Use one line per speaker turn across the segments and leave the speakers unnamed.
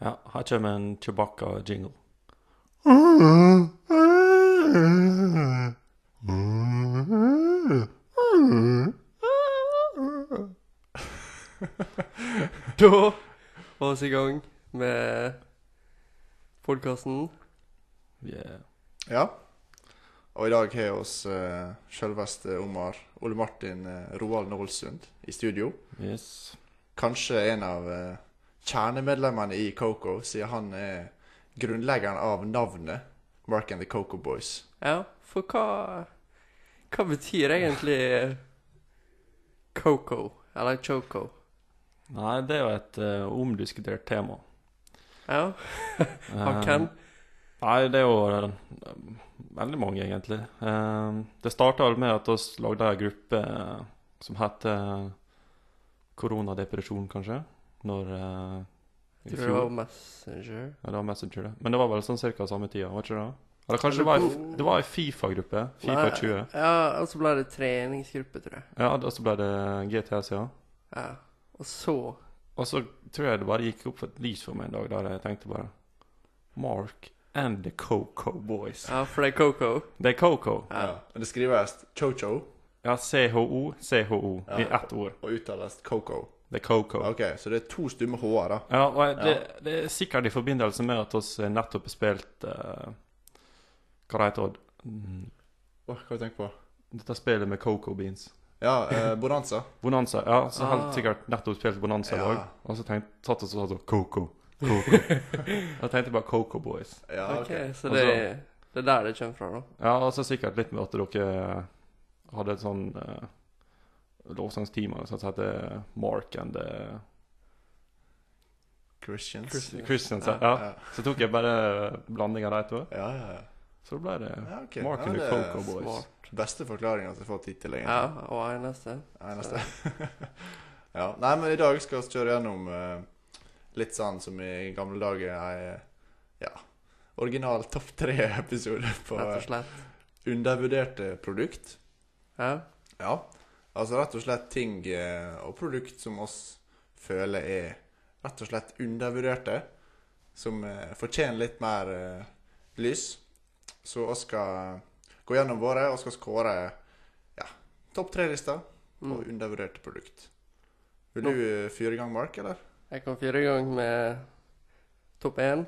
Ja, her kommer en Chewbacca-jingle.
Da var vi i gang med podkasten.
Yeah.
Ja. Og i dag har vi oss uh, selveste Omar Ole Martin eh, Roald Nålsund i studio.
Yes.
Kanskje en av eh, kjernemedlemmene i Coco, siden han er grunnleggeren av navnet Mark and the Coco Boys.
Ja, for hva Hva betyr egentlig Coco? Eller Choco?
Nei, det er jo et eh, omdiskutert tema.
Ja,
Eh,
han kan.
Nei, det er jo eh, veldig mange, egentlig. Eh, det starta vel med at vi lagde ei gruppe eh, som het eh, Koronadepresjon, kanskje. Når eh,
Jeg
I
tror det var
fjor.
Messenger.
Ja, det var Messenger, det. Men det var vel sånn ca. samme tida, var ikke det? Eller kanskje det var ei- det var ei Fifa-gruppe. Fifa
Nei,
20.
Ja, og så ble det treningsgruppe, tror jeg.
Ja, og så ble det GTS, ja.
Ja. Og så
Og så tror jeg det bare gikk opp for et lys for meg en dag der jeg tenkte bare Mark and the Coco Boys.
Ja, for det er Coco.
Det er Coco.
Ja.
Men det skrives Chocho
Ja, CHO, CHO i
Ja.
ett ord.
og uttales Coco.
Det er Coco.
Ok, Så det er to stumme h-er, da.
Ja, og jeg- det, det er sikkert i forbindelse med at oss nettopp har spilt eh, Hva det heter det?
Åh, hva har jeg tenkt på?
Dette spillet med Coco Beans.
Ja, eh, Bonanza.
Bonanza. Ja, så har
Ah.
vi sikkert nettopp spilt Bonanza i
Ja.
dag. Og så tenkte, satt oss og sa sånn Coco. Coco. jeg tenkte bare Coco Boys.
Ja,
Ok,
ok.
så
Og så-
det, det er der det kommer fra, da.
Ja, og så sikkert litt med at dere hadde et sånn uh, lovsangsteam altså, som heter Mark and eh, the
Christians.
Christians.
Ja.
Ja. Så tok jeg bare blanding av de to.
Ja, ja, ja.
Så da ble det
ja ok.
Mark
ja,
and
det
the
er
Coco Boys.
Smart.
Beste forklaringa til å få tid til, egentlig.
Ja, og eneste.
Nei, neste. ja. Nei, men i dag skal vi kjøre gjennom eh, litt sånn som i gamle dager ei ja, original topp tre-episode på
Rett og
eh,
slett.
undervurderte produkt.
Ja.
Ja. Altså rett og slett ting eh, og produkt som oss føler er rett og slett undervurderte. Som eh, fortjener litt mer eh, lys. Så vi skal gå gjennom våre og skal skåre ja, topp tre-lista på
Mm.
undervurderte produkt. Vil
Nå-
du eh, fyre i gang, Mark, eller?
Jeg kom fire ganger med topp én.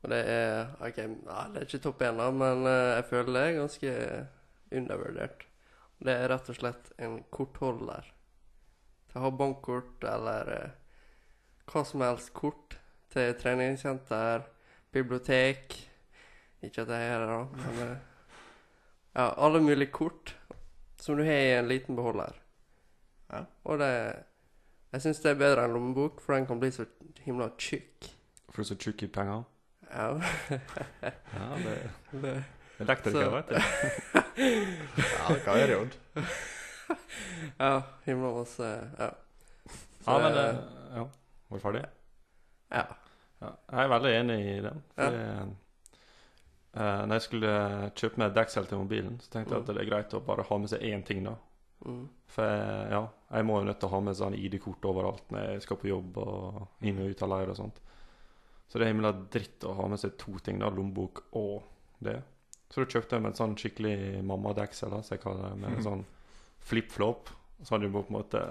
Og det er OK, nei, det er ikke topp én, da, men eh, jeg føler det er ganske undervurdert. Det er rett og slett en kortholder. Til å ha bankkort eller eh, hva som helst kort til treningssenter, bibliotek Ikke at jeg er det, da, men eh, Ja, alle mulige kort som du har i en liten beholder.
Ja.
Og det jeg syns det er bedre enn lommebok, for den kan bli så himla tjukk.
For så tjukke penger.
Ja.
Ja, det
Det-
Elektriker,
Så-
vet du.
Ja, hva er det, Odd?
ja, himla masse Ja.
Ja, men
det-
eh, ja. Var du ferdig?
ja.
Ja, jeg er veldig enig i den.
Ja.
Fordi, eh, når jeg skulle kjøpe meg deksel til mobilen, så tenkte jeg
Mm.
at det er greit å bare ha med seg én ting, da.
Mm.
For jeg, ja, jeg må jo nødt til å ha med sånn ID-kort overalt når jeg skal på jobb og inn og ut av leir og sånt. Så det er himla dritt å ha med seg to ting, da, lommebok og det. Så da kjøpte jeg meg en sånn skikkelig mammadeksel, da, som jeg kaller det, med en sånn flip-flop. Så hadde du på en måte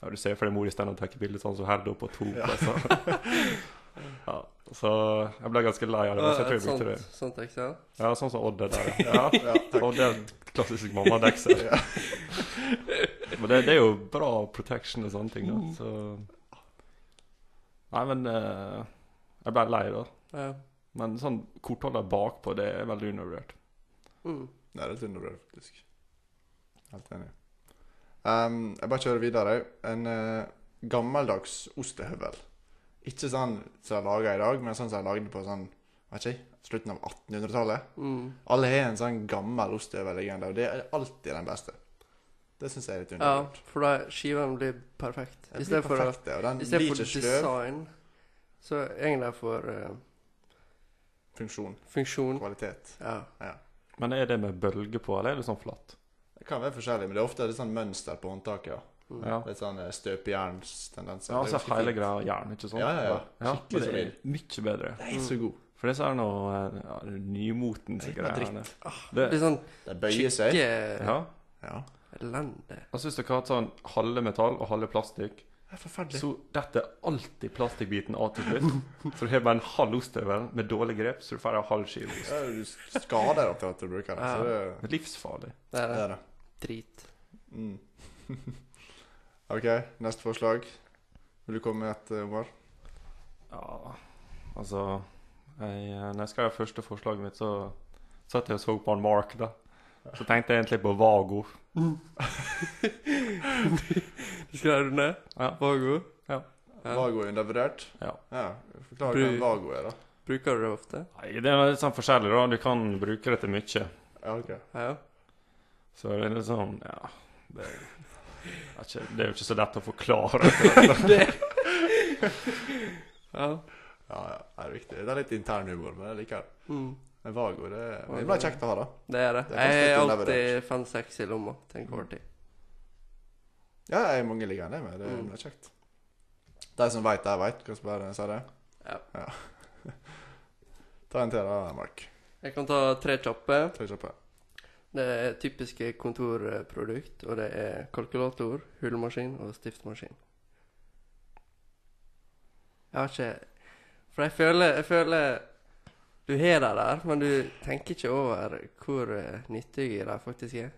ja, Du ser for deg mor i stedet og tar bilde sånn som herder opp på to plasser. ja, så jeg ble ganske lei av det. Men så
Og
jeg tror
et
jeg brukte det.
sånt, sånt eksempel.
Ja, sånn som Odd er der,
Ja,
ja.
ja takk.
Og det er et klassisk mammadeksel.
Ja.
Men det, det er jo bra protection og sånne ting, da.
Mm.
Så Nei, men eh, Jeg ble lei, da.
Ja.
Men sånn kortholder bakpå, det er veldig undervurdert.
Mm.
Nei, det er et underbrød, faktisk. Helt enig. Ehm, jeg bare kjører videre. En eh, gammeldags ostehøvel. Ikke sånn som jeg lager i dag, men sånn som jeg lagde på sånn, vet ikke, jeg, slutten av 1800-tallet.
Mm.
Alle har en sånn gammel ostehøvel liggende, og det er alltid den beste. Det syns jeg er litt
ja,
undervurdert.
for da skivene blir perfekt. I
Den
stedet
blir
for, å-
perfekt, det, og den
i stedet
blir
for
ikke sløv.
design, så egentlig for eh,
Funksjon,
funksjon.
kvalitet.
Ja.
Men er det med bølger på, eller er det sånn flatt?
Det kan være forskjellig, men det er ofte et sånn mønster på håndtaket. Ja.
Mm.
Ja.
Litt sånn eh, støpejernstendenser.
Ja,
Det er
altså
ganske
hele
fint.
greia jern, ikke sant?
Ja, ja, ja.
og
Skikkelig
det er mye bedre.
Det er så god.
For disse er noe eh, ja, nymotens
Det er Ah, ikke noe
greier.
Det blir sånn
De bøyer seg.
skikke
Ja.
Ja.
elendig.
Jeg syns dere har hatt sånn halve metall og halve plastikk.
Det er forferdelig.
Så dette er alltid plastikkbiten av til slutt. Så du har bare en halv ostehøvel med dårlig grep, så du får en halv kilo ost.
Ja, du skader deg til at du bruker det. Så det,
Det er Livsfarlig.
Det er
det er det.
drit.
Mm. OK, neste forslag. Vil du komme med et, eh, Omar?
Ja, altså jeg, eh, Når jeg skrev første forslaget mitt, så satt jeg og så på han Mark, da. Så tenkte jeg egentlig på Vago.
Mm.
Skrev du ned?
Ja.
Vago? Ja.
Vago er undervurdert?
Ja.
ja. Forklar
Bru-
hva en vago er, da.
Bruker du det ofte?
Nei, det er litt sånn forskjellig, da. Du kan bruke det til mye.
Ja, ok.
Ja.
Så det er litt sånn Ja. Det er, det er ikke, det er jo ikke så lett å forklare.
ja.
Ja, ja, det er viktig. Det er litt intern humor, men jeg liker det.
Mm.
En vago, det er
Vago.
det blir kjekt å ha, da.
Det er det.
Det er kanskje
Jeg
litt
har
undervurdert.
alltid fem-seks i lomma til en kort tid.
Ja, jeg er mange liggende med. Det er
Mm.
det er kjekt. De som veit, de veit. Hva som bare sier det.
Ja.
Ta en til, da, Mark.
Jeg kan ta tre kjappe.
Ta kjappe.
Det er typiske kontorprodukt, og det er kalkulator, hulemaskin og stiftmaskin. Jeg har ikke For jeg føler, jeg føler du har dem der, men du tenker ikke over hvor eh, nyttige de faktisk er.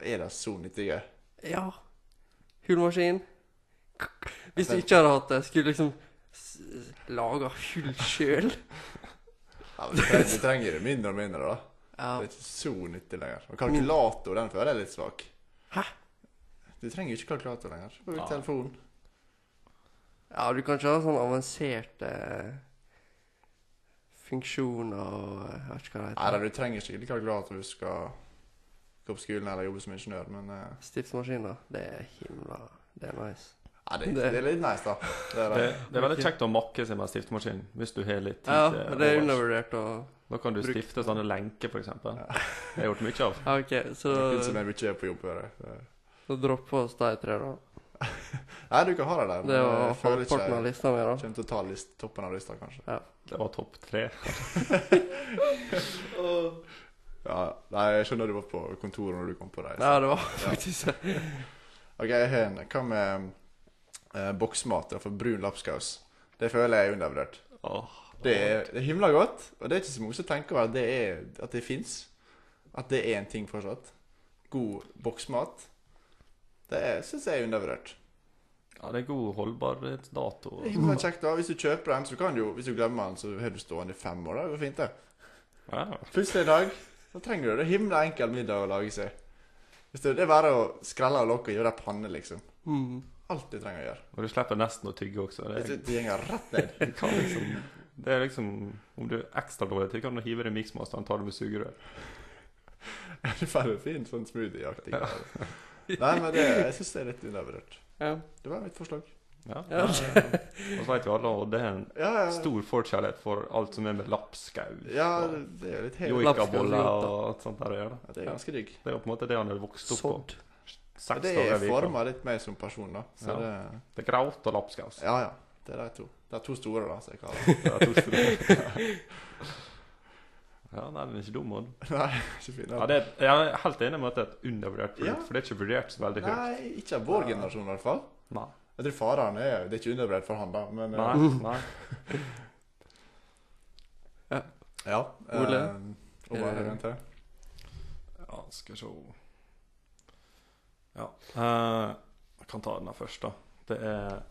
Er de så nyttige?
Ja. Hulemaskin. K- Hvis du
Altså-
ikke hadde hatt det, skulle du liksom s- lage hull sjøl.
Ja, men du trenger, du trenger det mindre og mindre, da.
Ja.
Det er ikke så nyttig lenger. Og kalkulator, den føler jeg er litt svak.
Hæ?
Du trenger jo ikke kalkulator lenger. Bruk
Ja.
telefon.
ja, du kan ikke ha sånn avanserte funksjoner og eh, Jeg vet ikke hva det
Nei,
heter.
da, du trenger ikke kalkulator hvis du skal gå på skolen eller jobbe som ingeniør, men eh,
Stiftsmaskiner, det er himla Det er nice.
Nei, det,
Det-
det er litt nice, da. Det er,
Det,
det.
det er veldig kjekt å makke seg med stiftemaskin hvis du har litt tid
Ja,
til
men det er
overs.
undervurdert å
Da kan du
Bruk-
stifte sånne lenker, f.eks.
Ja.
Det har jeg gjort mye av.
Ja, OK, så
Litt som jeg mye er på jobb hører jeg.
da dropper oss de tre, da.
Nei, du kan ha det der. men
Det var
jeg føler ikke
halvparten av
jeg
lista mi, da.
kommer til å ta list, toppen av lista, kanskje.
Det var topp tre.
Ja, nei, jeg skjønner du var på kontoret når du kom på det. så-
Ja, det var faktisk det.
Ok, jeg har en. Hva med eh, boksmat for brun lapskaus? Det føler jeg er undervurdert.
Åh,
Det er, det er himla godt, og det er ikke så mange som tenker over at det, er, at det fins. At det er en ting fortsatt. God boksmat. Det syns jeg er undervurdert.
Ja, det er god holdbarhetsdato.
Det er Himla kjekt da, Hvis du kjøper den, så kan du jo, hvis du glemmer den, så har du stående i fem år. da, Det går fint, det.
Ja.
Plutselig en dag, da trenger du det. Himla enkel middag å lage seg. Hvis det, det er bare å skrelle og lokke og gjøre ei panne, liksom.
Mm.
Alt du trenger å gjøre.
Og du slipper nesten å tygge også. Det
Det,
er,
det går rett ned.
det kan liksom, det er liksom Om du er ekstra dårlig til, kan du hive det i miksmasteren og ta det med sugerør.
Det er veldig fint, sånn smoothie-aktig. greie. Nei, men det, jeg syns det er litt undervurdert.
Ja.
Det var mitt forslag.
Ja.
Ja.
Og så vet vi alle, og det er en
Ja, ja.
stor forkjærlighet for alt som er med lapskaus.
ja det er jo litt helt
Joik.
Joikaboller og alt sånt der. å gjøre, da.
ja, Det er ganske digg.
Det er jo på en måte det han har vokst opp på.
Sodd.
Seks
Sånn. Det
dager
er
i uka.
forma litt mer som person, da. Så
Ja.
det,
Det er graut og lapskaus.
ja, ja. Det er de to. Det er to store, da, som jeg kaller det.
Det er to store. Ja, nei, den er ikke dum. Odd.
Nei, ikke fint.
Ja, det er, jeg er helt enig med at det er et undervurdert produkt,
Ja.
for det er ikke vurdert så veldig høyt.
Nei, ikke av vår generasjon, i hvert fall.
Nei.
Jeg tror faren er Det er ikke undervurdert for han, da, men eh,
Nei, nei.
Ja. eh,
Ole?
om
Eh,
han er en til.
Ja, skal vi se Ja. eh, jeg kan ta den her først, da. Det er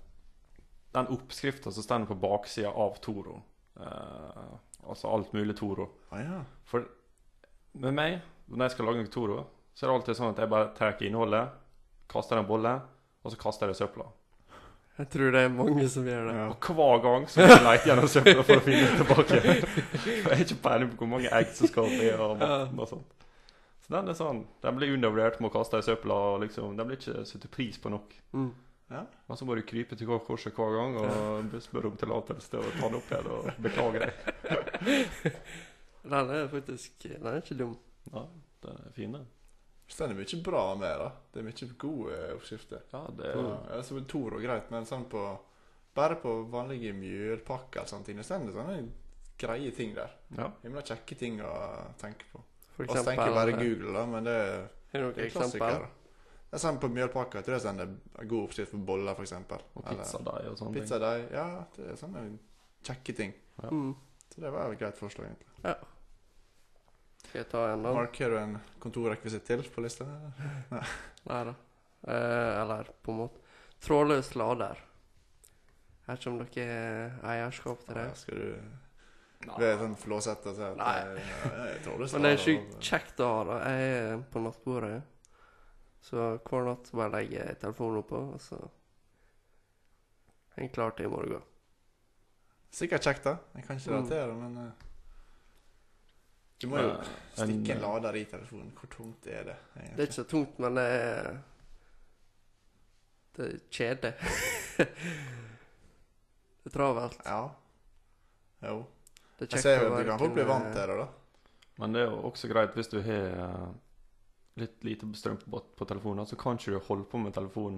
den oppskrifta som står på baksida av Toro. Eh, altså alt mulig Toro.
Ah, ja.
For med meg, når jeg skal lage noe Toro, så er det alltid sånn at jeg bare tar innholdet, kaster en bolle, og så kaster jeg det i søpla.
Jeg tror det er mange som gjør det.
Ja.
Og hver gang så må jeg lete gjennom søpla for å finne det tilbake. For jeg har ikke peiling på hvor mange egg som skal i og maten og sånt. Så den er sånn, den blir undervurdert med å kaste i søpla, og liksom, den blir ikke satt pris på nok.
Mm.
Men så må du krype til korset hver gang og spørre om tillatelse til å ta den opp igjen og beklage deg.
Den er faktisk Den er ikke dum.
Ja, den er fin, den.
Så det er mye bra med det. Det er mye gode eh, oppskrifter.
Ja, det
På- Ja, så Tor og greit, men sånn på bare på vanlige mjølpakker og sånt inne, så er sånn- det sånne greie ting der.
Ja.
Himla kjekke ting å tenke på.
For
Vi tenker
eh,
bare Google, da, men det er,
Har du
det
noen
er klassikere.
eksempel?
Det er sånn på mjølpakker, jeg tror jeg sånn det er en god oppskrift for boller, for eksempel.
Og
Eller
pizzadeig og sånne ting.
Pizzadeig. Ja, det er sånne kjekke ting.
Ja.
Mm.
Så det var et greit forslag, egentlig.
Skal jeg ta en, da?
Mark, har du en kontorrekvisitt til på lista?
Nei da. Eh, eller på en måte Trådløs lader. Jeg vet ikke om dere har eierskap til det.
Ja, Skal du være sånn flåsete og si at
Nei.
eh, ja, jeg tror du
Men det
svarer,
er sjukt kjekt å ha det. Jeg er på nattbordet. Så hver natt bare legger jeg telefonen oppå, og så er den klar til i morgen.
Sikkert kjekt, da. Jeg kan ikke
Mm.
relatere, men eh, Du må jo
Eh, en-
stikke en lader i telefonen. Hvor tungt er det? egentlig?
Det er ikke så tungt, men det er Det er kjedelig. det er travelt.
Ja. Jo.
Det er
Jeg ser
å
jo at
være
du kan fort bli
kunne-
vant til det, da.
Men det er jo også greit hvis du har eh, litt lite strøm på, på telefonen, så kan ikke du holde på med telefonen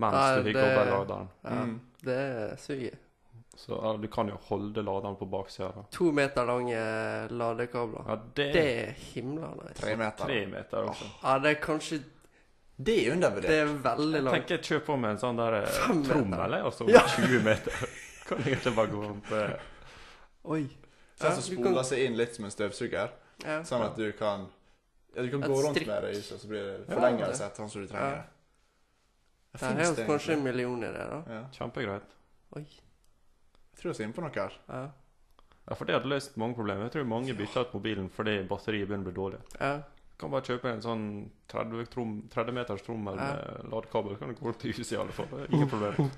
mens
Nei,
du hygger
det-
opp i laderen.
Ja,
Mm.
Det suger.
Så ja, du kan jo holde laderen på baksida. da.
To meter lange ladekabler.
Ja, det
Det
er
er himla nice.
Tre meter.
tre meter altså. også.
Ja, det er kanskje
Det er
Det
undervurdert.
er veldig
Jeg
langt.
tenker jeg kjøper på meg en sånn der eh,
Fem meter.
trommel, jeg, altså.
Ja.
20 meter. Kan jeg ikke bare gå rundt eh,
Oi.
Sånn som
Ja, du kan-
spoler seg inn litt som en støvsuger,
Ja.
sånn at du kan ja, Du kan
Et
gå rundt
strikk.
med det i huset, så blir det
Ja, det-
forlengelse etter sånn som du trenger.
Ja.
Det
Der
finnes
har vi
det
kanskje en
egentlig.
million i det, da.
ja.
Kjempegreit.
Oi.
Jeg tror vi er inne på noe her.
Ja.
Ja, for det hadde løst mange problemer. Jeg tror mange bytter ut mobilen fordi batteriet begynner å bli dårlig.
ja.
Du kan bare kjøpe en sånn 30, trom, 30 meters trommel
Ja.
med ladekabel. Så kan du gå rundt i huset i alle fall. Det er Ingen problem.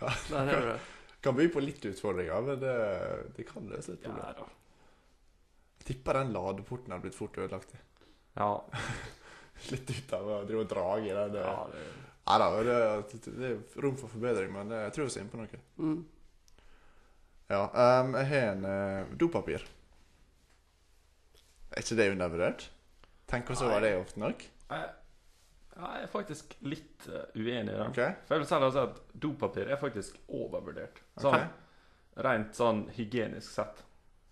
Der er det.
Kan by på litt utfordringer, men det, det kan løse et problem.
da.
Tipper den ladeporten har blitt fort ødelagt.
Ja,
Litt ut av å drive og drage i den. Det.
ja, det
Nei da, det, det er rom for forbedring, men det, jeg tror vi er inne på noe.
Mm.
Ja, ehm, jeg har en eh, dopapir. Er ikke det undervurdert? Tenk oss over det ofte nok.
Jeg, jeg er faktisk litt eh, uenig i det.
Ok?
For jeg vil selv si at dopapir er faktisk overvurdert. Sånn,
Ok.
Rent sånn hygienisk sett.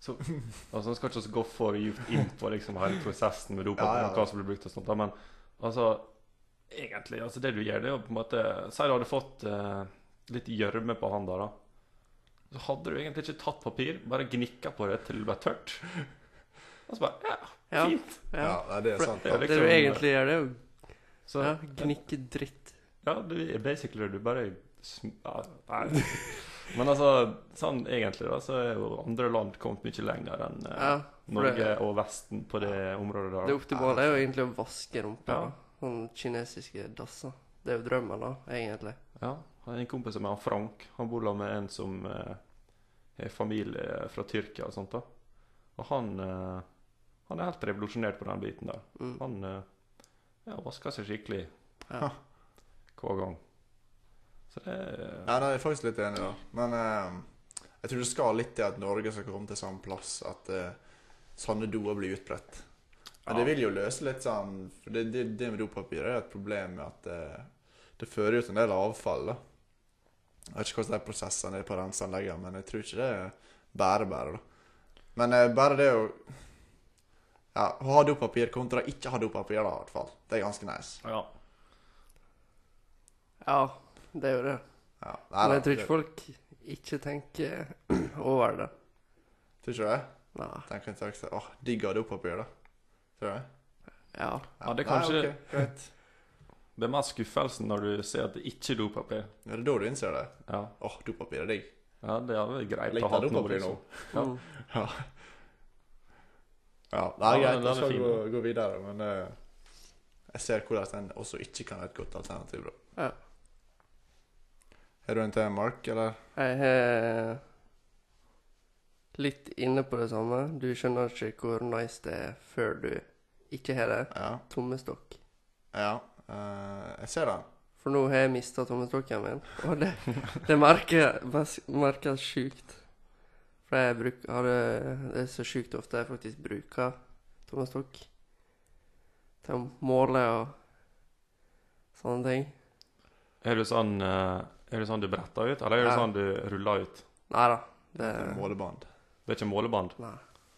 Så, altså, Man skal ikke så gå for djupt inn på liksom, hele prosessen med dopapir
Ja, ja, ja.
og hva som blir brukt og sånt, da, men altså Egentlig, altså det du gjør, det er jo på en måte Si du hadde fått eh, litt gjørme på handa, da. Så hadde du egentlig ikke tatt papir, bare gnikka på det til det ble tørt. Og så bare Ja,
Ja.
fint.
ja.
Ja, nei, det er
For
sant.
det er
da.
liksom-
Det du egentlig gjør, det er jo
Så
ja, gnikke dritt.
Ja, du er basically Du bare sm ja, Nei. Men altså, sånn egentlig, da, så er jo andre land kommet mye lenger enn eh,
Ja. for
Norge
det-
og Vesten på det området der.
Det optimale er jo egentlig å vaske rumpa.
Ja.
da. Sånn kinesiske dasser. Det er jo drømmen, da, egentlig.
Ja, jeg har en kompis som heter Frank. Han bor sammen med en som eh, har familie fra Tyrkia og sånt. da. Og han, eh, han er helt revolusjonert på den biten der.
Mm.
Han eh, ja, vasker seg skikkelig
Ja.
hver gang. Så det er
Nei, nei, jeg er faktisk litt enig, da. Men eh, jeg tror det skal litt til at Norge skal komme til samme plass at eh, sånne doer blir utbredt. Men
Ja.
det vil jo løse litt sånn For det, det, det med dopapir er jo et problem med at eh, det fører ut en del avfall, da. Jeg vet ikke hvordan de prosessene er på renseanleggene, men jeg tror ikke det er bare-bare, da. Men eh, bare det å ja, ha dopapir kontra ikke ha dopapir, da, i hvert fall. Det er ganske nice.
Ja.
ja, det er jo det.
Ja. Nei
Men
da,
jeg tror
det-
ikke folk ikke tenker over det.
Tror ikke det?
Nei.
Tenk en sak Åh, digg å ha dopapir, da. Tror jeg.
Ja.
Ja, det er kanskje-
Nei, ok, greit.
Det er mer skuffelsen når du ser at det ikke er dopapir.
Ja, det er da du innser det.
Ja.
Åh, dopapir er digg.
Ja, det er vel
Jeg
greit å ha noe
likte dopapir nå.
liksom. Ja.
Mm.
Ja, det er
Ja,
greit.
den- den
Jeg
er
skal
fin,
gå, gå videre, men eh, jeg ser hvordan den også ikke kan være et godt alternativ, da.
Ja.
Har du en til, Mark, eller?
Jeg har litt inne på det samme. Du skjønner ikke hvor nice det er før du ikke har det.
Ja.
Tommestokk.
Ja. eh, jeg ser den.
For nå har jeg mista tommestokken min, og det, det merker merkes- merkes sjukt. For jeg bruk, har det, det er så sjukt ofte jeg faktisk bruker tommestokk. til å måle og sånne ting.
Er det sånn, eh, er det sånn du bretter ut, eller er det
Ja.
sånn du ruller ut?
Nei da. Det,
Eh.
Målebånd.
Det er ikke målebånd,
nei,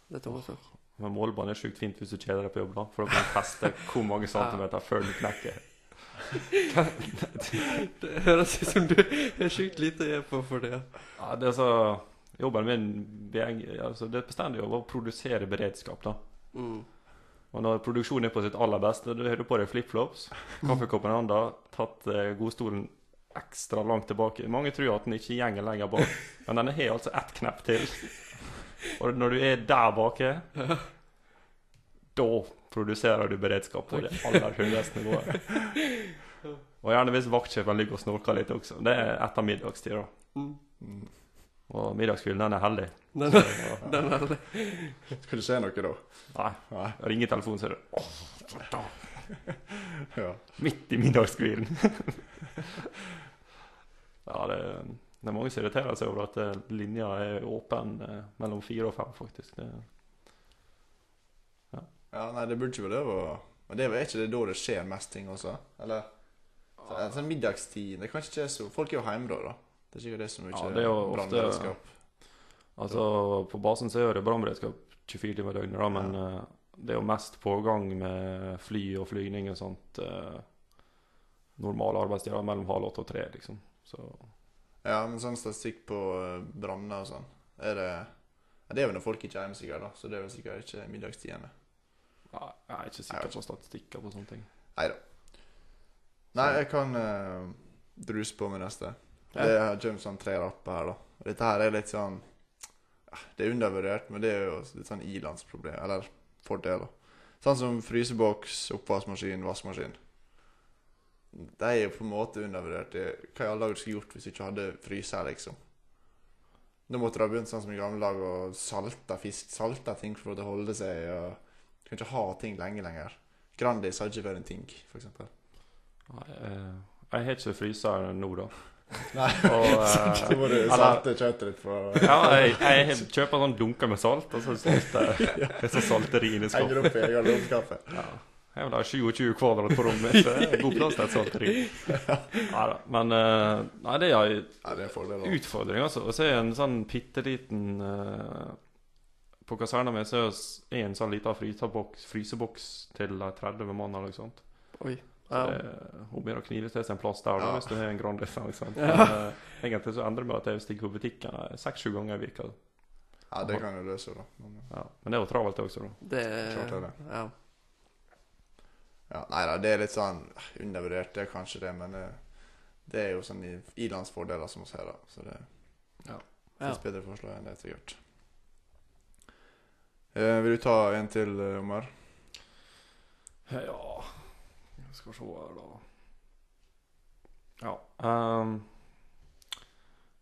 det er tomme stokk.
men målebånd er sjukt fint hvis du kjeder deg på jobb, da. For da kan du feste hvor mange centimeter før du knekker.
Det høres ut som du er sjukt lite å gjøre på for det.
Ja, det er så Jobben min det er- altså, Det er bestandig jobb å produsere beredskap, da.
Mm.
Og når produksjonen er på sitt aller beste, da har du på deg flipflops, kaffekoppen i hånda, tatt eh, godstolen ekstra langt tilbake. Mange tror at den ikke gjenger lenger bak, men den har altså ett knepp til. Og når du er der bake, da produserer du beredskap på det aller høyeste nivået. Og gjerne hvis vaktsjefen ligger og snorker litt også. Det er etter middagstid, da.
Mm.
Og middagskvelden, den er heldig.
Den,
Så,
den er det.
Skulle skje noe da?
nei,
Nei.
ringer telefonen, så er det
Ja.
midt i middagskvilen. ja, det, det er mange som irriterer seg over at eh, linja er åpen eh, mellom fire og fem, faktisk. Det,
ja, nei, det burde ikke være lov å Men det er vel ikke det da det skjer mest ting også? Eller? Så- Sånn middagstid Det kan ikke skje så Folk er jo hjemme da, da. Det er sikkert det som ikke
Ja, det er jo ofte-
brannberedskap.
altså, på basen så er det brannberedskap 24 timer i døgnet, da, men eh, det er jo mest pågang med fly og flygning og sånt. Eh, normale arbeidstider mellom halv åtte og tre, liksom. Så
Ja, men sånn statistikk på eh, branner og sånn Er det ja, Det er jo når folk ikke er hjemme, sikkert, da. Så det er vel sikkert ikke middagstidene.
nei, jeg er ikke sikker på statistikker på sånne ting.
Nei da. Nei, jeg kan eh, druse på med neste.
Ja.
Det er- kommer sånn tre rappe her, da. Og Dette her er litt sånn eh, Det er undervurdert, men det er jo litt sånn ilandsproblem, eller fordeler. Sånn som fryseboks, oppvaskmaskin, vaskemaskin. De er jo på en måte undervurdert. Det- Hva i alle dager du skulle gjort hvis du ikke hadde fryser, liksom? Nå måtte du ha begynt sånn som i gamle dager og salte fisk, salte ting for å holde seg. og Du kan ikke ha ting lenge lenger. Grandis har ikke vært en ting, for eksempel.
Nei, eh, jeg har ikke fryser nå, da.
Nei,
Og,
så må du
eh,
salte kjøttet ditt på
Ja, jeg, jeg kjøper sånn dunker med salt, og så salter jeg så salter jeg inn i skapet.
Henger opp i garderobeskapet.
Ja. Jeg vil ha 27 kvadrat på rommet mitt, så det er god plass til et salteri. Neida, men eh, nei, det er en
Ja, det er en fordel. da.
utfordring, altså. Og så er en sånn bitte liten eh, På kaserna mi så er en sånn liten fryseboks, fryseboks til eh, 30 mann eller noe sånt.
Oi.
Så
Ja.
det, hun begynner å knive til seg en plass der da,
Ja.
hvis du har en Grandis. ikke sant?
Ja.
Men, eh, egentlig så endrer det meg at jeg stikker på butikken eh, seks-sju ganger i vika.
Ja, det kan du løse, da. Men,
Ja. Men det er jo travelt også, da.
Det
Klart det er det.
Ja.
ja, nei da, det er litt sånn eh, undervurdert, det er kanskje det, men eh, det er jo sånn i- ilandsfordeler som vi ser, da. Så det
ja.
finnes bedre forslag enn det jeg har gjort. Eh, vil du ta en til, eh, Omar?
Ja Jeg skal se her, da. Ja. ehm,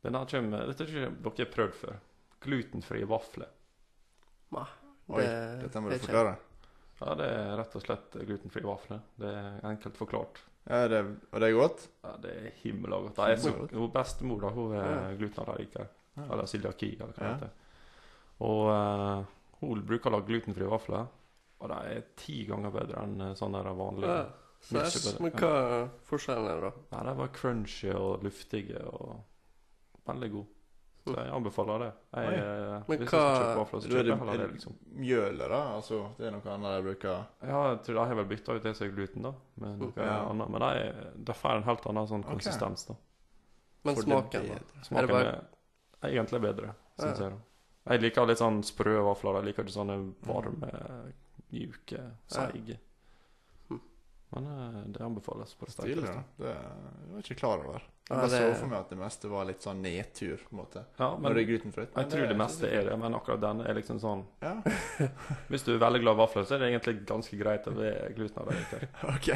den her kommer Dette har ikke dere prøvd før. Glutenfrie vafler.
Oi,
Eh,
Dette må du forklare.
Ja, det er rett og slett glutenfrie vafler. Det er enkelt forklart.
Ja, det, og det er godt?
Ja, det er himla godt. Det er så,
Himla godt.
hun bestemor da, hun
Ja.
er glutenallergiker.
Ja.
Eller cøliaki, eller hva det
Ja.
heter. Og eh, hun bruker å lage glutenfrie vafler. Og de er ti ganger bedre enn eh, sånne der vanlige.
Ja. Sæsj.
Mye bedre.
Men hva er forskjellen er, da?
Nei, de var crunchy og luftige og veldig gode. Så jeg anbefaler det. Jeg,
Oi.
eh,
Men
hvis jeg
hva-
skal kjøpe vafler, så
Da er
kjøper
det-
jeg heller
er
det,
det-
liksom.
Mjølet, da? Altså, det er noe annet de bruker?
Ja, jeg tror jeg har vel bytta ut det som er gluten, da. Med noe
Ja.
annet. Men de er- de får en helt annen sånn
Ok.
konsistens, da.
Men
For det
smaken, da?
bedre.
Smaken
Er
er,
det bare-
egentlig bedre, syns
Ja.
jeg. da. Jeg liker litt sånn sprø vafler. Jeg liker ikke sånne varme, mjuke, seige.
Hm.
Men eh, det anbefales på det
Stilig, da.
sterkeste.
Det jeg var jeg ikke klar over. Jeg
Ja,
bare så
det-
for meg at det meste var litt sånn nedtur, på en måte.
Ja,
Når
men
det er glutenfritt. men
jeg tror det meste
ikke
er det, men akkurat denne er liksom sånn
sikkert. Ja,
Hvis du er veldig glad i vafler, så er det egentlig ganske greit å være glutenallergiker.
ok.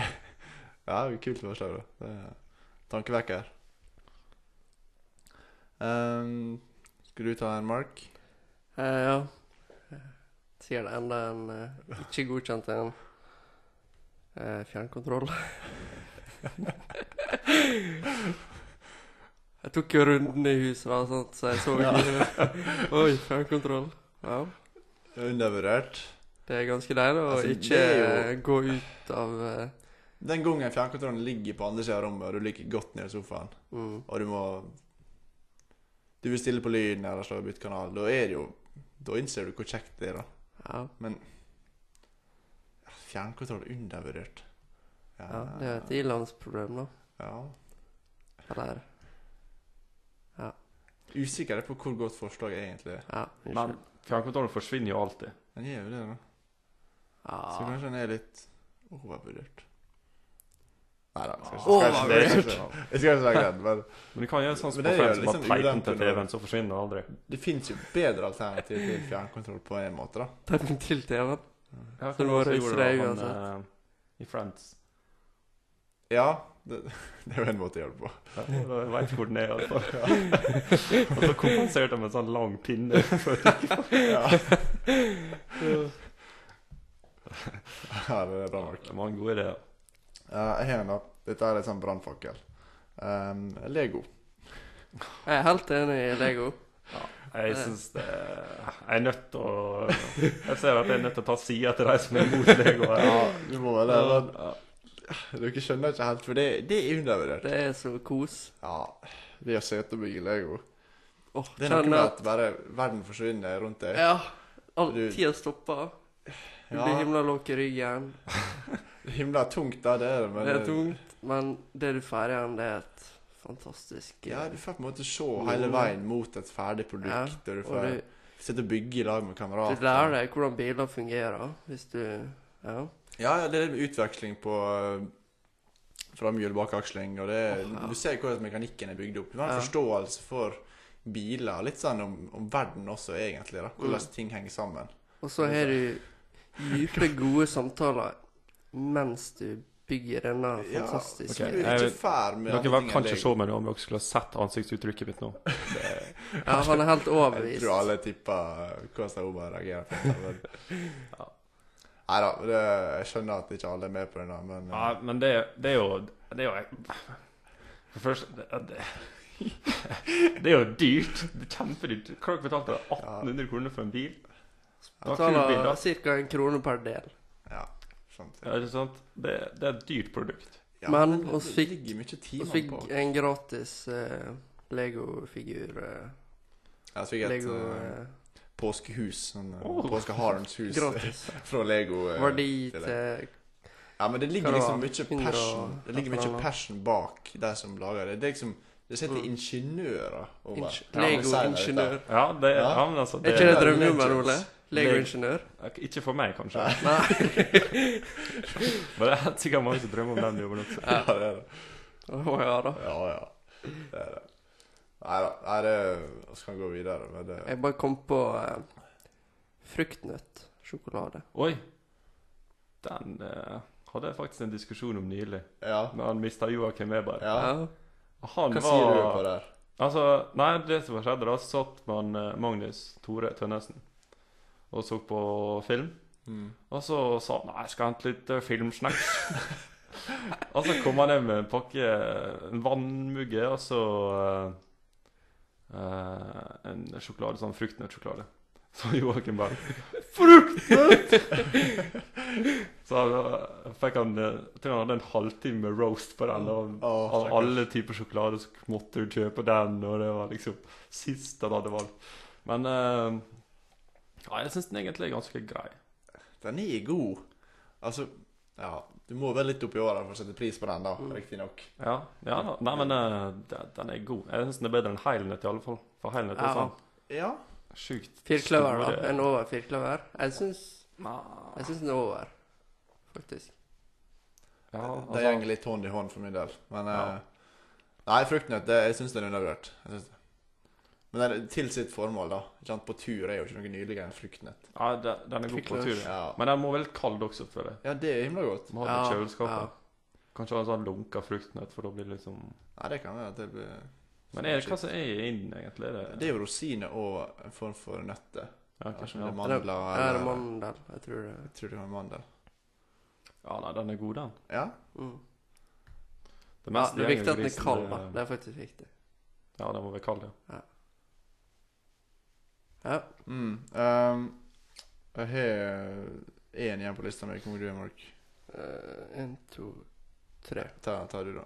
Ja, det er kult forslag, da. Det er tankevekker. Ehm, skal du ta en, Mark?
Eh, ja. Sier det enda en eh, ikke godkjent en. Eh, fjernkontroll. jeg tok jo runden i huset, da, sant? så jeg så ikke Oi, fjernkontroll. Ja.
Undervurdert.
Det er ganske deilig å
Altså, det
ikke
er
gå ut av eh,
Den gangen fjernkontrollen ligger på andre sida av rommet, og du ligger godt nede i sofaen,
mm.
og du må Du vil stille på lyden eller slå bytte kanal, da er det jo Da innser du hvor kjekt det er, da.
Ja,
Men ja, Fjernkontroll er undervurdert.
ja. Det er
Ah.
et ilandsproblem, da.
ja.
Eller
Usikker på hvor godt forslaget egentlig er.
Ja.
Men
Unnskyld.
fjernkontrollen forsvinner jo alltid.
Den gjør jo det, da. Så
Ja.
kanskje den er litt overvurdert. Nei da.
Ah.
Jeg skal ikke snakke den, men
Men du kan gjøre sånn som på
Men det er jo
Friends, bare
liksom
teipe den
ulempen
til
da.
TV-en, så forsvinner den aldri.
det fins jo bedre alternativ til fjernkontroll på en måte, da.
Ta den til TV-en.
Ja,
Så det var reise deg
altså.
uansett.
eh, I Friends.
Ja, det, det er jo en måte å gjøre det på.
Ja, da vet hvor den er, i hvert fall. Og så kompenserte han med en sånn lang pinne.
Ja, det er bra nok.
Det var en god idé. ja.
Eh, jeg har en, da. Dette er litt sånn brannfakkel. Um, Lego.
Jeg er helt enig i Lego.
Jeg syns det Jeg er nødt til å Jeg ser at jeg er nødt til å ta sida til de som er mot Lego. her.
Ja, du må vel det. men
Ja.
Dere skjønner ikke helt, for det, det er undervurdert.
Det er så kos.
Ja, det å sitte og bygge Lego
Åh,
Det er noe med
kjenner
at bare verden forsvinner rundt deg.
Ja. All tida stopper. Du
Ja.
blir himla låg i ryggen.
Himla tungt, da. Det er det. Men eh,
Det er tungt, men det du får igjen, det er et fantastisk
eh, Ja, du får på en måte se hele
Mm.
veien mot et ferdig
Ja,
produkt. Og du
eh, Og
får Ah,
du,
sitte og bygge i lag med kamerater.
du lærer deg hvordan biler fungerer, hvis du Ja.
Ja, ja, det er med utveksling på eh, framhjul, bakaksling, og det er,
Åh, ja.
Du ser hvordan mekanikken er bygd opp. Du har en
Ja.
forståelse for biler, litt sånn om, om verden også, egentlig. da Hvordan
Mm.
ting henger sammen.
Og så har du dype, gode samtaler mens du bygger denne
Ja,
fantastiske
ok.
Du er
Jeg-
ikke fæl med
Dere
andre ting
kan
enn
ikke se meg nå, men dere skulle ha sett ansiktsuttrykket mitt nå.
Ja, han er helt
Jeg
overbevist.
tror alle tipper hvordan Oba reagerer på det. Men...
Ja.
Nei da, det, jeg skjønner at ikke alle er med på den, da, men eh,
Ja, men det, det er jo Det er jo For først det, det, det er jo dyrt. Det er kjempedyrt. Hva dere betalte dere? 1800 kroner for en bil? Det var kul bil, da.
Betaler ca. en krone per del.
ja. sant.
Ja, ikke sant? Det, det er et dyrt produkt.
Ja,
Men
det-
oss
det
fikk-
ligger mye
Og
timer
fikk
på.
en gratis eh, Lego-figur. eh,
Ja, så fikk jeg et
Lego
eh, påskehus, sånn eh,
Oh.
påskeharens
eh,
hus
gratis.
fra Lego. eh,
Verdi
det er
til
Ja, men det ligger
Hva
liksom
da?
mye
100
passion Det ligger
et eller
mye
annet.
passion bak de som lager det. Det er liksom Det sitter
Mm.
ingeniører og bare-
Inge-
Ja, men sier det, dette.
Lego-ingeniør.
Ja, det,
Ja.
ja men altså
Er
det,
ikke det
er-
drømmejobben, Ole?
Lego-
Lego-ingeniør?
Ikke for meg, kanskje.
Nei.
Men det er helt sikkert mange som drømmer om den jobben også.
Ja, det er det.
Å ja da.
Ja, ja. Det er det. Nei da. Nei, det Vi kan gå videre, men det
Jeg bare kom på eh, fruktnøttsjokolade.
Oi! Den eh, hadde jeg faktisk en diskusjon om nylig,
Ja.
men han mista Joakim Weber.
ja.
Han var
Hva sier du på der?
Altså, nei, det som skjedde, da satt man eh, Magnus Tore Tønnesen og så på film.
Mm.
Og så sa han nei, jeg skal hente litt eh, filmsnacks. og så kom han hjem med en pakke eh, en vannmugge og så eh, eh, en sjokolade, sånn fruktnøttsjokolade. Så Joakim bare 'Fruktnøtt!' så da fikk han eh, Jeg tror han hadde en halvtime med roast på den. Og
Åh,
av
stakkars.
alle typer sjokolade så måtte du kjøpe den, og det var liksom sist han hadde valgt. Men eh, ja, jeg syns den egentlig er ganske grei.
Den er god. Altså Ja, du må vel litt opp i åra for å sette pris på den, da.
Mm.
Riktignok.
Ja, ja da. Nei, men eh, de- den er god. Jeg syns den er bedre enn Heilnøtt, i alle fall. For Heilnøtt er
Ja.
sånn
Ja.
sjukt
Firkløver, da.
store-
En over firkløver. Jeg syns,
Nei,
jeg syns den er over, faktisk.
Ja,
det
altså,
går litt hånd i hånd for min del. Men
Ja.
eh, Nei, fruktnøtt det, Jeg syns den er undervurdert. Jeg synes det. Men det er til sitt formål, da. Ikke sant? På tur er jo ikke noe nydeligere enn fruktnøtt.
ja, de- den er god på
Firkløver.
tur. ja.
Ja.
Men den må være litt kald også, føler jeg.
ja, det er himla godt.
Må ha den i
Ja,
kjøleskapet.
ja.
Kanskje ha en sånn lunka fruktnøtt, for da blir det liksom
Nei, det kan være at det blir
Men er det hva som er i den, egentlig? Er
Det
det
er jo rosiner og en form for nøtter.
ja,
Ja,
ok,
som det
ja.
er mandler
Er det
eller
mandel? Jeg tror det.
Jeg tror det var mandel.
ja, nei, den er god, den.
Ja?
Mm.
Det
Ja,
meste
det er viktig at den er
gjengen
kald,
grisen,
da.
det-
Det er faktisk viktig.
Ja, den må være kald, ja.
Ja.
Mm. ehm, jeg Um, har Én igjen på lista mi. Hvor mange du er, Mark?
Én, Eh, to, tre.
Ta, ta du, da.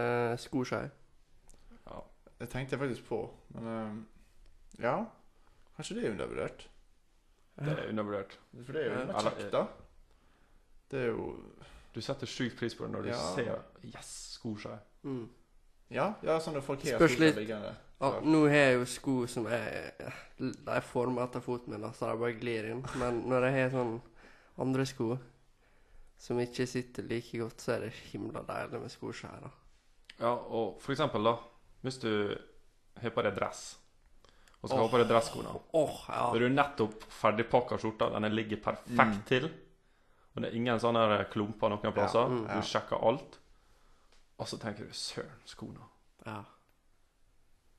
Eh, Skoskei.
Ja.
Det tenkte jeg faktisk på, men eh, Ja. Kanskje det er undervurdert?
Det er undervurdert.
For det er jo
Ja.
litt kjekt, da. Det er jo
Du setter sjukt pris på det når du
Ja.
ser Yes, skoskje.
Mm.
Ja, ja sånn at folk har
Spørs
skoene
litt.
liggende.
Ja,
Klart.
nå har jeg jo sko som er De er forma etter foten min, da, så de bare glir inn. Men når jeg har sånn andre sko som ikke sitter like godt, så er det himla deilig med skoskjær. da.
Ja, og for eksempel, da. Hvis du har på deg dress, og skal
Åh.
ha på deg dresskoene
Åh,
Ah.
ja.
Da er du nettopp ferdigpakka skjorta. Den ligger perfekt til. Og det er ingen sånne her klumper noen plasser.
mm,
Mm. ja.
Du sjekker alt. Og så tenker du 'søren, skoene'.
ja.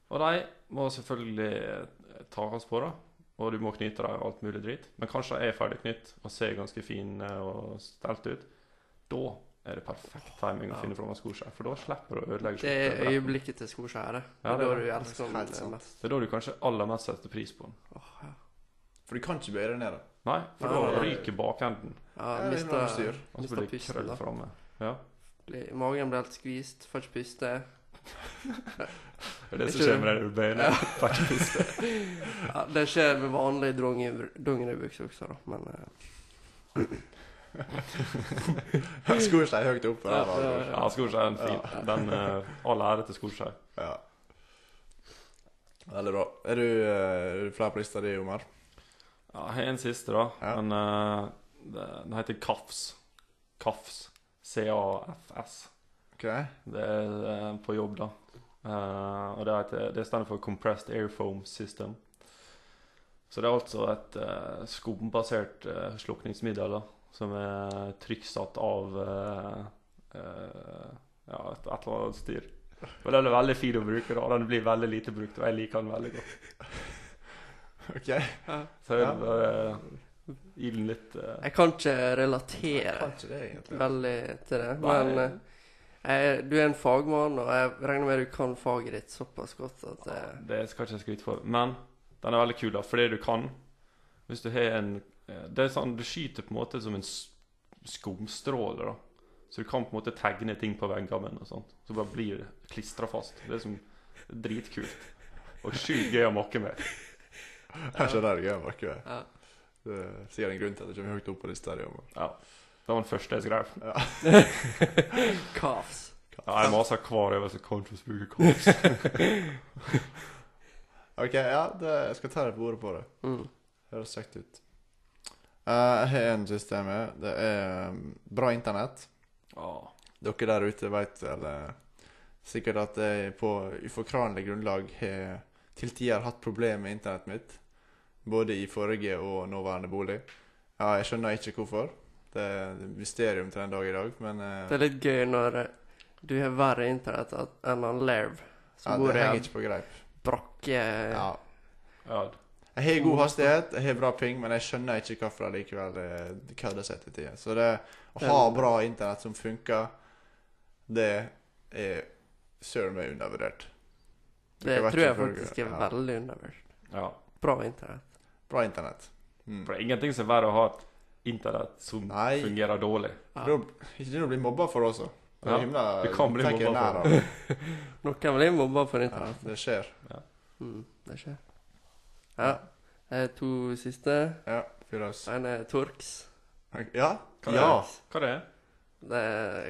Og de må selvfølgelig tas på, da. Og du må knyte dem og alt mulig drit. Men kanskje de er ferdig knytt og ser ganske fine og stelt ut. Da er det perfekt timing å
Ja.
finne fram en skoskje, for da slipper du å ødelegge
Det er
skjorta.
øyeblikket til skoskjæret.
Ja,
det
det
er
er
da du elsker den
Helt sant.
mest.
Det er da du kanskje aller mest setter pris på den.
Åh, ja.
For du kan ikke bøye deg ned, da.
Nei, for
Nei,
da
nei, nei.
ryker bakenden,
Ja,
Ja, det er noe
mister,
styr.
og så
mister
blir det
pusten,
krøll
da.
framme. Ja.
Blir- Magen blir helt skvist, får ikke puste.
Det er det som
Ikke
skjer med deg når du bøyer ned. Faktisk.
Ja, det skjer med vanlige drong- dongeribukser også, da. Men eh,
Skoskei høyt opp på
Ja,
ræva.
ja,
altså.
Ja, Skorskjær er en fin. Den, eh, all ære til Skorskjær.
Ja. Veldig bra. Er du, eh, er du flere på lista di, Omar?
Ja, jeg har en siste, da.
Ja.
Men eh, det, den heter Kafs. Kafs. C-A-F-S.
Ok.
Det er eh, på jobb, da. Eh, og det, heter, det står for Compressed Air Foam System. Så det er altså et eh, skumbasert eh, slukningsmiddel da, som er trykksatt av eh, eh, ja, et, et eller annet styr. Men den er veldig fin å bruke, da, og den blir veldig lite brukt, og jeg liker den veldig godt.
Ok.
Så jeg
Ja.
vil bare gi den litt eh,
jeg kan ikke
Jeg
relatere
kan ikke det, egentlig.
veldig til det.
Nei.
Men eh, jeg, du er en fagmann, og jeg regner med du kan faget ditt såpass godt at
Ja,
eh,
det skal ikke jeg skryte for. Men den er veldig kul, da, fordi du kan Hvis du har en eh, Det er sånn, Du skyter på en måte som en s- skumstråle, da. Så du kan på en måte tegne ting på veggene og sånt. Så bare blir det klistra fast. Det er som dritkult. Og sjukt gøy å makke med.
Jeg skjønner det. Jeg merker det.
ja.
Det er sikkert en grunn til at det kommer høyt opp på lista di. Omar.
Ja. Det var den første jeg skrev.
Kafs.
Ja, jeg maser hver øvelse. Conscious bruker kors.
Ok, ja, det, jeg skal ta deg på ordet på det.
Mm.
Høres kjekt ut. Eh, jeg har en siste jeg er med. Det er um, bra internett.
Ja.
Dere der ute vet eller, sikkert at jeg på uforkranlig grunnlag har til tider hatt problemer med internettet mitt. Både i forrige og nåværende bolig. Ja, jeg skjønner ikke hvorfor. Det er et mysterium til den dag i dag, men eh,
Det er litt gøy når eh, du har verre internett at- enn han Lerv,
ja,
som
det
bor i
henger
en
ikke på greip.
brakke
Ja.
ja.
Jeg har god hastighet, jeg har bra ping, men jeg skjønner ikke hvorfor de likevel eh, kødder seg til tider. Så det å ha bra internett som funker, det er søren meg undervurdert.
Det
Dere vet
tror jeg
selvfølgelig,
faktisk er
ja.
veldig undervurdert.
ja.
Bra internett.
Bra internett. Mm.
For det er ingenting som er verre å ha et internett som
Nei.
fungerer dårlig.
Ja.
Da, ikke det å bli mobba for det også. Det er
Ja,
himla,
du kan bli
tenker jeg
mobba
nær
for
av.
Noen blir mobba for
Ja,
internett.
det skjer.
Mm, det skjer. Ja. eh, To siste.
Ja, fyr løs.
En er Torx.
Ja.
Hva er
ja.
det? Hva er det?
Det er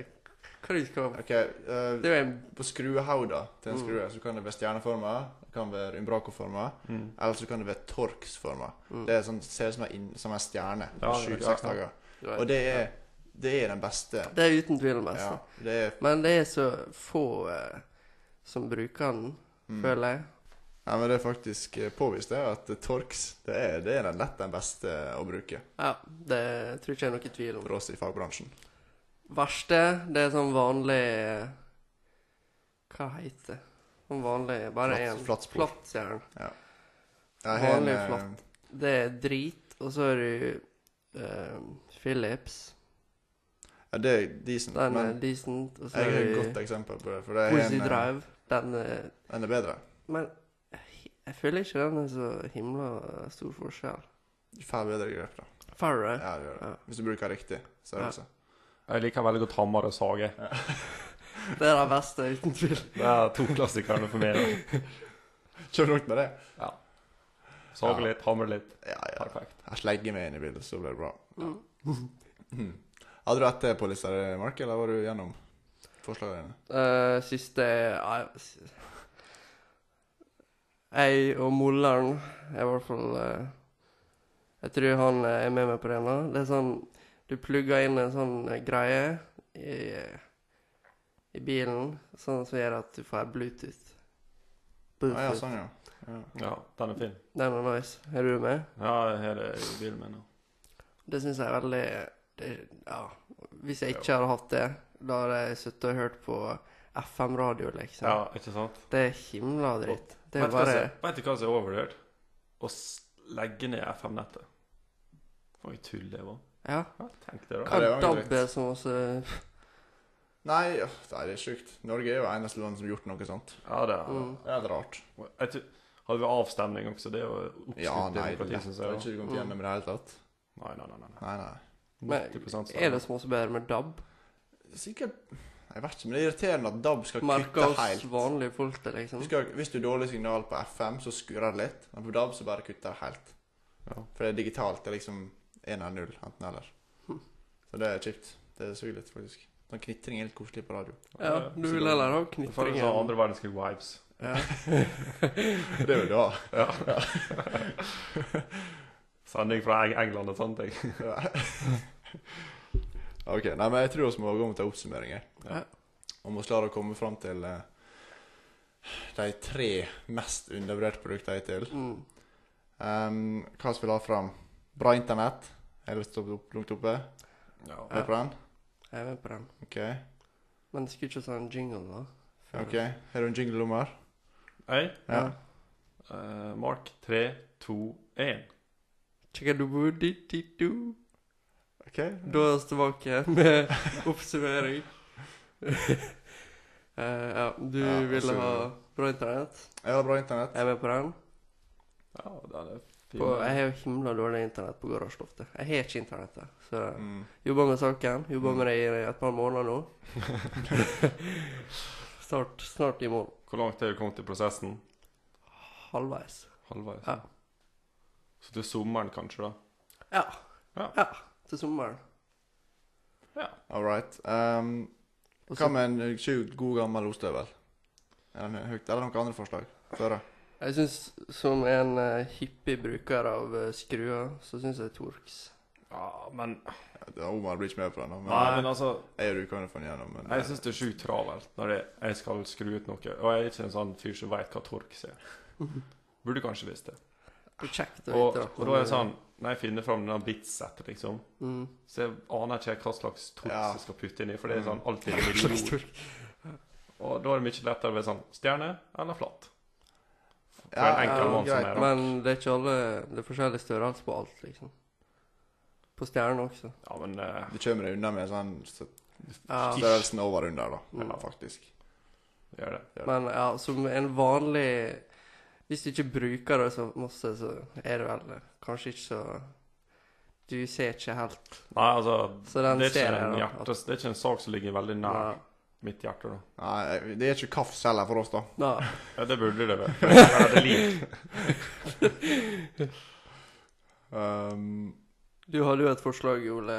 Hva du skal
Ok, eh,
Det er jo en
På skruehauda til en
Mm.
skrue så kan det være stjerneforma, det kan være umbraco-forma,
Mm.
eller så kan det være torx-forma.
Mm.
Det er sånn, ser ut som en, inn- som en stjerne på
Ja,
sju-seks
ja, ja.
dager.
du vet.
Og det er, det er den beste.
Det er uten tvil den beste.
Ja, det er
Men det er så få eh, som bruker den,
mm.
føler jeg.
Nei, men det er faktisk eh, påvist det at Torx det er, det er den lett den beste å bruke
Ja, det tror ikke jeg er noe tvil om.
for oss i fagbransjen.
Verste, det er sånn vanlig eh, Hva heter det? Sånn vanlig Bare
Flatt-
én.
flatspor.
Flattjern.
Jeg har en,
Vanlig
eh,
flatt. Det er drit, og så er du eh, Philips.
Ja, det er decent,
Den er
men
decent. Og så
jeg har et
er
godt
du
eksempel på det, for det er
Wizzy
en, eh,
Drive. Den er
den er bedre.
Men jeg føler ikke den er så himla stor forskjell. eh?
Du får bedre grep, da.
Farre.
Ja, det gjør det.
Ja.
Hvis du bruker riktig størrelse.
Jeg liker veldig godt hammer og sage.
Det er det verste, uten tvil.
Det er to klassikerne for meg. da.
Kjør langt med det.
Sage
Ja.
litt, hamre litt.
Ja, ja.
Perfekt.
Jeg slegger meg inn i bildet, så blir det bra.
Mm.
Mhm. Hadde du ett til på lista, di, Mark, eller var du gjennom forslagene dine?
Eh, siste ja, s- Jeg og Molleren er i hvert fall eh, Jeg tror han eh, er med meg på det nå. Det er sånn Du plugger inn en sånn eh, greie i, i bilen, sånn som gjør at du får Bluetooth.
Ah, ja, sånn, ja. ja.
Ja, den er fin.
Den er nice. Er du med?
Ja, jeg har det i bilen min nå.
Det syns jeg er veldig det, Ja. Hvis jeg ikke hadde hatt det, da hadde jeg sittet og hørt på FM-radio, liksom.
Ja, ikke sant?
Det er himla dritt. Det
Vet
er
du hva
bare
som- vet du hva som er overvurdert? Å s- legge ned FM-nettet. For et tull det var.
Ja.
Ja, tenk det, da.
Hva
Ja, det var
er
jo dritt.
DAB er som også
Nei, ja, nei, det er sjukt. Norge er jo eneste land som har gjort noe sånt.
Ja, det er
mm.
Det er litt rart.
Jeg tror- Hadde vi avstemning også? Det er jo
Ja,
oppskrytt
nei, det er
demokrati,
lett.
syns
Jeg har
jeg. da.
ikke kommet gjennom i det hele tatt.
Nei, nei, nei.
Mm.
nei.
Nei, nei.
Men
90%
er det som også bedre med DAB?
Sikkert Jeg vet ikke, men det er irriterende at DAB skal kutte
Merker oss
helt.
vanlige folk det, liksom?
Husker, dere, hvis du har dårlig signal på FM, så skurrer det litt. Men på DAB så bare kutter det helt.
Ja.
For det er digitalt. Det er liksom 1 eller 0, enten eller. Så det er kjipt. Det suger litt, faktisk. Sånn knitring er litt koselig på radio.
Ja, du vil heller ha
Du får
knitring
en sånn andre verdenskrig-vibes.
Ja.
Det vil du ha.
Sending fra Eng- England og sånne ting.
Ja. OK. Nei, men jeg tror vi må gå mot en oppsummering. jeg.
Ja.
Og må klare å komme fram til eh, de tre mest undervurderte produktene hittil.
Mm.
Um, hva skal vi la fram? Bra internett. Er det stått opp, langt oppe?
Ja.
Er du på den?
Jeg er med på den.
OK.
Men det skulle ikke ha sånn jingle, da. For-
ok. Har du en jingle om her?
Hei,
Ja.
eh, Mark. Tre, to, én.
Chickadoo-doo-doo-doo.
OK.
Da er vi tilbake med oppsummering. Eh, ja, du
Ja,
ville
altså-
ha bra internett.
Jeg har bra internett.
Jeg er med på den.
Ja, den er fin.
På, jeg har jo himla dårlig internett på garasjeloftet. Jeg har ikke internett der. Så
Mm.
jobber med saken. Jobber med det i et par måneder nå. snart, snart i mål.
Hvor langt er du kommet i prosessen?
Halvveis.
Halvveis?
Ja.
Så til sommeren, kanskje, da?
Ja.
Ja.
Til sommeren.
All right. Um,
Og
hva
så-
med en sjukt god gammel ostehøvel? Er den høyt? Eller noen andre forslag? Føre.
Jeg syns som en eh, hippie bruker av eh, skruer, så syns jeg Torx.
Ja, men
Omar blir ikke med på den. da, Men,
Nei, men altså
Jeg og du kan jo få den gjennom, men
Jeg syns det er sjukt travelt når det, jeg skal skru ut noe. Og jeg er ikke en sånn fyr som veit hva torks er. Burde kanskje visst det.
Det er kjekt å
Og,
vite.
og da er det sånn Når jeg finner fram denne bitset, liksom,
mm.
så jeg aner ikke hva slags torks
Ja.
jeg skal putte inni. For det er
Mm.
sånn alltid
Hva slags
million.
Torx?
Og da er det mye lettere å være sånn stjerne eller flatt. For
Ja,
en enkel
ja,
mann som
greit,
er
Men det er ikke alle Det er forskjellig størrelse på alt, liksom. På stjernen også.
Ja, men eh,
du kommer deg unna med sånn st-
Ja.
størrelsen over og under, da.
Mm.
Ja, faktisk.
gjør det.
Men ja, som en vanlig Hvis du ikke bruker det så masse, så er det vel kanskje ikke så Du ser ikke helt
Nei, altså
Så
det
den
er, ikke
ser jeg
en
da,
hjerte, det er ikke en sak som ligger veldig nær
Nei.
mitt hjerte, da.
Nei, det er ikke kaffs heller for oss, da.
Nei.
Ja, det burde det være. Men det er liv.
Um,
Du hadde jo et forslag, Ole,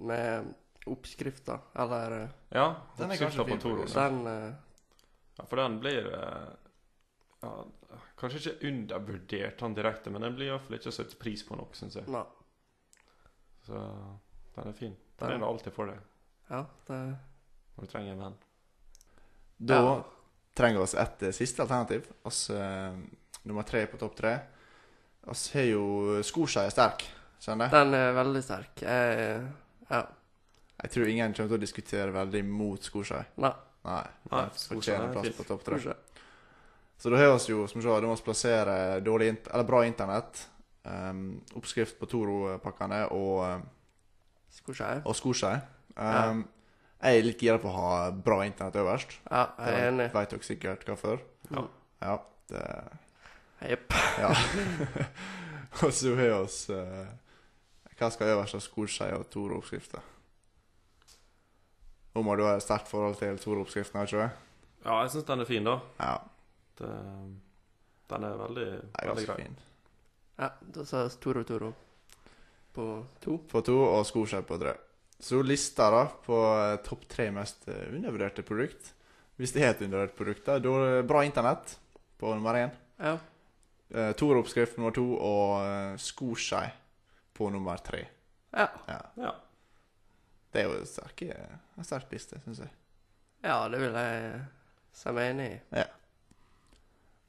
med oppskrifter, eller eh,
Ja,
Den
oppskrifta
er kanskje
på
fin,
Toro.
faktisk.
Den eh,
Ja, for den blir eh, ja, Kanskje ikke undervurdert han direkte, men den blir iallfall ikke satt pris på nok, syns jeg.
Nei.
Så den er fin. Den er
Den,
det alltid for deg
ja, det
når du trenger en venn.
da
Ja.
trenger vi et eh, siste alternativ. Oss eh, nummer tre på topp tre. Oss har jo Skosja er sterk, skjønner jeg.
Den er veldig sterk. Jeg, ja.
Jeg tror ingen kommer til å diskutere veldig mot Skosja.
Nei.
Nei.
Nei,
den
Skosja
Fortjener
er
plass
fint.
på topp tre.
Tror ikke.
Så da har vi jo, som sagt, da må vi plassere dårlig int eller bra internett, um, oppskrift på Toro-pakkene og um,
Skal ikke jeg?
og skoskei. Um, Jeg er litt gira på å ha bra internett øverst.
Ja,
Det
jeg er enig.
Vet dere sikkert hva for.
Ja.
Ja, det,
Jepp.
ja. og så har vi oss eh, Hva skal øverst av skolskei og Toro-oppskrifter? Nå må du ha et sterkt forhold til Toro-oppskriften, har ikke du det?
Ja, jeg syns den er fin, da.
Ja,
Det, den er veldig,
det er
veldig
ganske
grei.
fin.
Ja, da sa jeg Toro Toro på to.
På to og skoskei på tre. Så lista da på eh, topp tre mest eh, undervurderte produkt. Hvis det er et undervurdert produkt, da, da er det bra internett på nummer én.
Ja.
Eh, Toro-oppskrift nummer to og eh, skoskei på nummer tre.
Ja,
Ja.
Det er jo sterke, en sterk liste, syns jeg.
ja det vil jeg si meg enig i.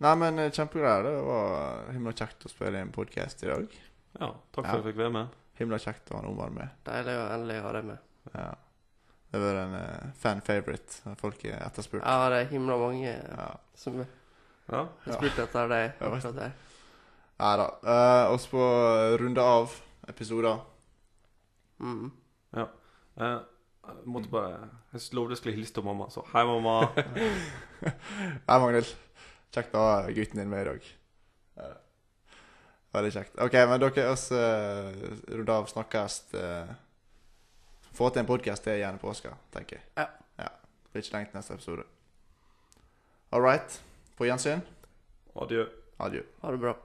Nei, men eh, kjempegreier. Det var himla kjekt å spille en podkast i dag.
ja. Takk
Ja.
for at jeg fikk være med.
Himla kjekt å ha en Omar med.
Deilig å endelig ha deg med.
Ja. Det var en eh, fan favorite. Folk er etterspurt.
Ja, det er himla mange
Ja.
som har
Ja.
Ja.
spurt etter deg.
Ja, vet
akkurat der.
Nei da. Eh, oss på runde av episoder.
Mm.
Eh, jeg måtte bare Jeg lovde jeg skulle hilse til mamma, så hei, mamma.
Hei, Magnhild. Kjekt å ha gutten din med i dag. Ja. Veldig kjekt. OK, men dere oss eh, runder av snakkes eh, Få til en podkast det er gjerne påska, tenker jeg.
Ja.
ja. Blir ikke lengt neste episode. All right. På gjensyn.
Adjø.
Adjø.
Ha det bra.